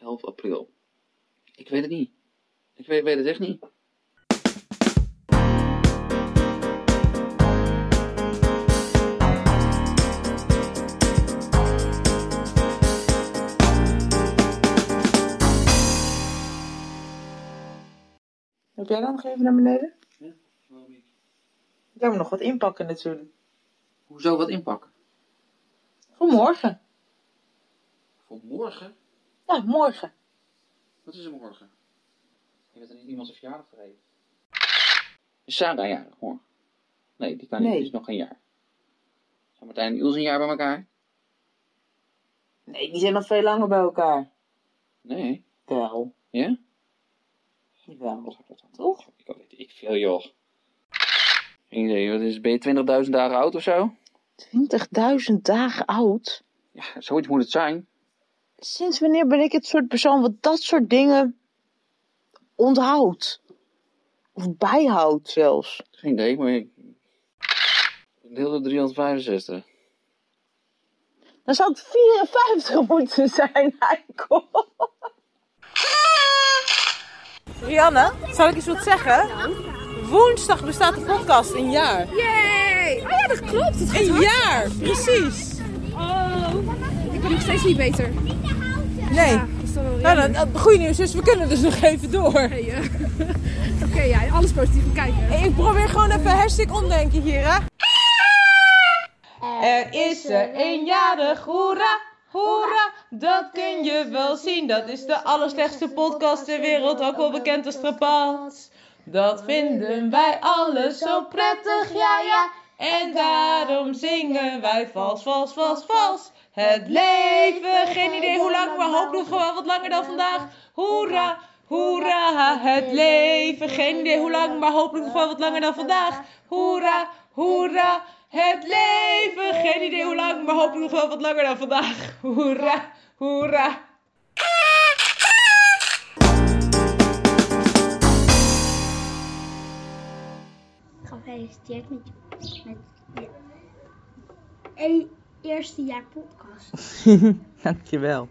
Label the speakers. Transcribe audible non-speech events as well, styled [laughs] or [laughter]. Speaker 1: 11 april. Ik weet het niet. Ik weet, weet het echt niet.
Speaker 2: Heb jij dan nog even naar beneden?
Speaker 1: Waarom niet?
Speaker 2: Jij moet nog wat inpakken natuurlijk.
Speaker 1: Hoezo wat inpakken?
Speaker 2: Voor morgen.
Speaker 1: Voor morgen?
Speaker 2: Ja, morgen.
Speaker 1: Wat is er morgen? Je bent er niet iemand zijn verjaardag vergeten. Is Sarah jarig morgen? Nee, die kan niet.
Speaker 2: Nee.
Speaker 1: Die is nog geen jaar. Zijn Martijn en Iels een jaar bij elkaar?
Speaker 2: Nee, die zijn nog veel langer bij elkaar.
Speaker 1: Nee.
Speaker 2: Wel.
Speaker 1: Ja?
Speaker 2: Wel.
Speaker 1: Wat gaat Oh, dat dan?
Speaker 2: Toch?
Speaker 1: Ik weet ik veel joh. Geen idee, wat is, ben je 20.000 dagen oud of zo?
Speaker 2: 20.000 dagen oud?
Speaker 1: Ja, zoiets moet het zijn.
Speaker 2: Sinds wanneer ben ik het soort persoon wat dat soort dingen onthoudt? Of bijhoudt zelfs.
Speaker 1: Geen idee, maar ik... Deel door 365.
Speaker 2: Dan zou ik 54 moeten zijn, Heiko. Rianne, zal ik eens wat zeggen? Woensdag bestaat de podcast een jaar.
Speaker 3: Yay! Oh ja, dat klopt. Het gaat
Speaker 2: Een
Speaker 3: hard.
Speaker 2: jaar, precies.
Speaker 3: Oh. Ik ben nog steeds niet beter.
Speaker 2: Nee.
Speaker 3: Ja, dat is dan wel
Speaker 2: Nou,
Speaker 3: jammer.
Speaker 2: dan, het goede nieuws is, we kunnen dus nog even door.
Speaker 3: Hey, eh, [laughs] Oké, ja, alles positief eh. bekijken.
Speaker 2: Ik probeer gewoon even hashtag omdenken hier, hè.
Speaker 4: Er is er een jarig, hoera, hoera. Dat kun je wel zien, dat is de allerslechtste podcast ter wereld, ook wel bekend als Trapats. Dat vinden wij alles zo prettig, ja ja. En daarom zingen wij vals, vals, vals, vals. Het leven, geen idee hoe lang, maar hopelijk gewoon wat langer dan vandaag. Hoera, hoera, het leven, geen idee hoe lang, maar hopelijk gewoon wat langer dan vandaag. Hoera, hoera, het leven, geen idee hoe lang, maar hopelijk nog wel wat langer dan vandaag. Hoera, hoera.
Speaker 5: Gefeliciteerd met je, met je e- eerste jaar podcast.
Speaker 2: Dankjewel.